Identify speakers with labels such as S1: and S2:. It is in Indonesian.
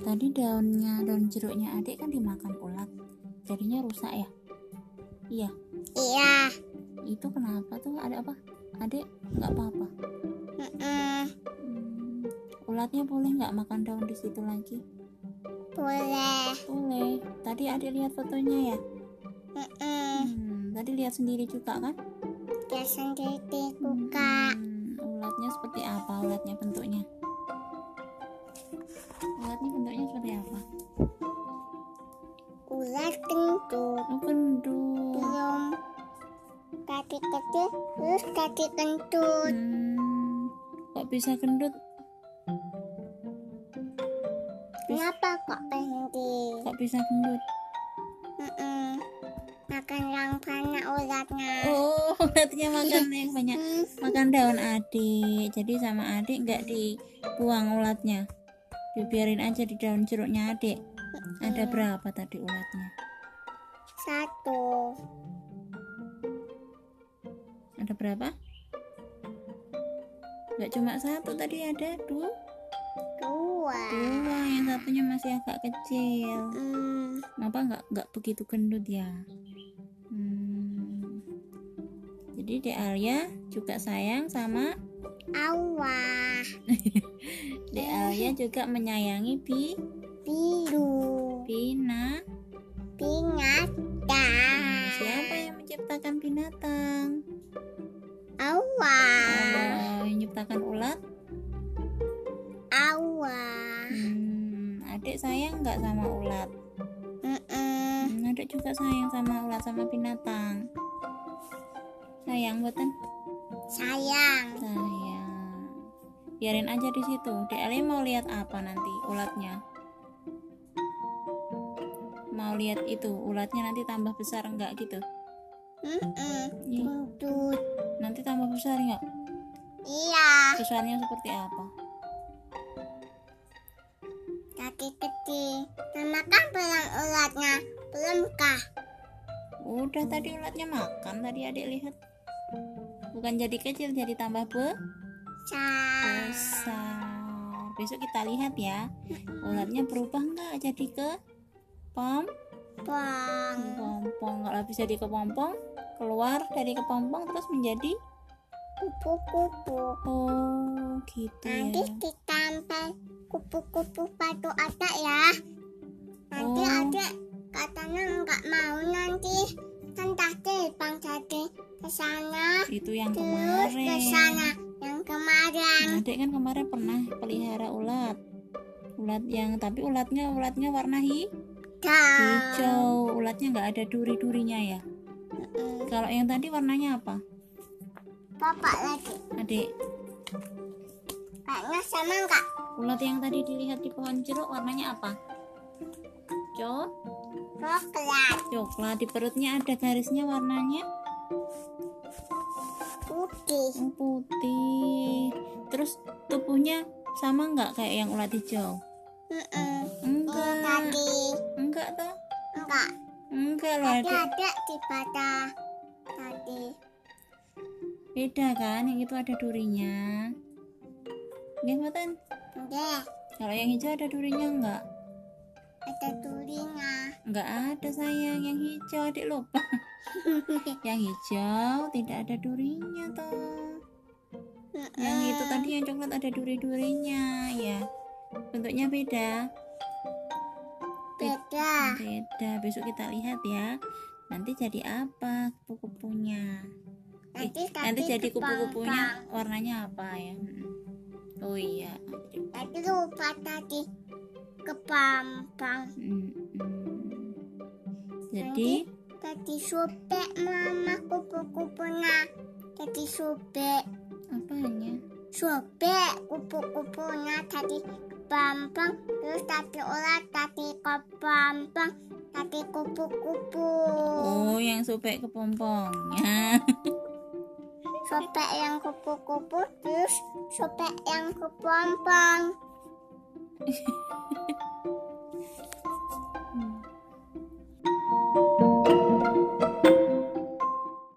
S1: tadi daunnya daun jeruknya adik kan dimakan ulat jadinya rusak ya iya
S2: Iya.
S1: itu kenapa tuh ada apa adik nggak apa-apa
S2: Mm-mm.
S1: Hmm, ulatnya boleh nggak makan daun di situ lagi
S2: Boleh.
S1: boleh tadi adik lihat fotonya ya
S2: Mm-mm.
S1: hmm, tadi lihat sendiri juga kan
S2: Dia sendiri buka.
S1: Hmm, ulatnya seperti apa ulatnya bentuknya ulatnya bentuknya seperti apa
S2: Ular kentut.
S1: oh gendut
S2: Belum kaki kecil, terus kaki kentut.
S1: Hmm, kok bisa gendut?
S2: Kenapa kok berhenti?
S1: Kok bisa gendut?
S2: Mm-mm. Makan yang banyak ulatnya.
S1: Oh, ulatnya makan yang banyak.
S2: Mm.
S1: Makan daun adik. Jadi sama adik nggak dibuang ulatnya. Dibiarin aja di daun jeruknya adik. Ada berapa tadi ulatnya?
S2: Satu.
S1: Ada berapa? Nggak cuma satu tadi ada dua.
S2: Dua.
S1: Dua yang satunya masih agak kecil.
S2: Mm.
S1: apa nggak nggak begitu gendut ya hmm. jadi Dek Alia juga sayang sama
S2: Awah.
S1: Dek
S2: Eh.
S1: Alia juga menyayangi Bi
S2: Biru.
S1: Bina
S2: Binatang.
S1: siapa yang menciptakan binatang
S2: Awah.
S1: Allah yang menciptakan Eh, ulat
S2: Awah.
S1: hmm. adik sayang nggak sama ulat
S2: Mm-mm.
S1: hmm, adik juga sayang sama ulat sama binatang sayang buatan
S2: Sayang.
S1: sayang biarin aja di situ Dek Alia mau lihat apa nanti ulatnya mau lihat itu ulatnya nanti tambah besar enggak gitu
S2: Mm-mm.
S1: Iya.
S2: Kentut.
S1: nanti tambah besar enggak
S2: Iya.
S1: besarnya seperti apa
S2: Kaki kecil. Mama kan belum ulatnya. Belumkah?
S1: udah tadi ulatnya makan tadi adik lihat bukan jadi kecil jadi tambah be-
S2: Sayang.
S1: besar besok kita lihat ya ulatnya berubah enggak jadi ke pom
S2: Bang.
S1: kepompong kalau bisa di kepompong keluar dari kepompong terus menjadi
S2: Kupu-kupu.
S1: oh gitu
S2: Nanti
S1: ya
S2: ditambah kupu-kupu batu ada ya. Nanti
S1: Oh.
S2: ada katanya nggak mau nanti kan tadi bang jadi ke sana
S1: itu yang
S2: terus ke
S1: kemarin
S2: sana yang kemarin
S1: adik kan kemarin pernah pelihara ulat ulat yang tapi ulatnya ulatnya warna hi-
S2: dan
S1: hijau ulatnya nggak ada duri durinya ya kalau yang tadi warnanya apa
S2: bapak lagi
S1: adik
S2: baknya sama nggak
S1: ulat yang tadi dilihat di pohon jeruk warnanya apa Co
S2: coklat
S1: coklat di perutnya ada garisnya warnanya
S2: putih
S1: Oh, putih terus tubuhnya sama nggak kayak yang ulat hijau
S2: Mm-mm. ini
S1: enggak
S2: Oh, tadi
S1: enggak toh
S2: enggak
S1: enggak loh
S2: tapi
S1: adik
S2: ada di bata tadi
S1: beda kan yang itu ada durinya Nggih, Mboten?
S2: enggak
S1: kalau yang hijau ada durinya enggak
S2: ada tulinya
S1: enggak ada sayang yang hijau adik lupa yang hijau tidak ada durinya toh yang itu tadi yang coklat ada duri-durinya ya bentuknya beda Ah.
S2: beda
S1: beda besok kita lihat ya nanti jadi apa kupu-kupunya
S2: nanti
S1: nanti
S2: tadi
S1: jadi
S2: kebangkang.
S1: kupu-kupunya warnanya apa ya Mm-mm. oh iya
S2: Tadi lupa tadi kepampang.
S1: Mm-mm. jadi
S2: Tadi sobek mama kupu-kupunya. Tadi sobek,
S1: apanya
S2: sobek kupu-kupunya tadi kepampang. Terus tadi ulat tadi kepampang. Tadi kupu-kupu.
S1: oh yang sobek Ya. kepompongnya
S2: Sobek yang kupu-kupu terus sobek yang kepampang.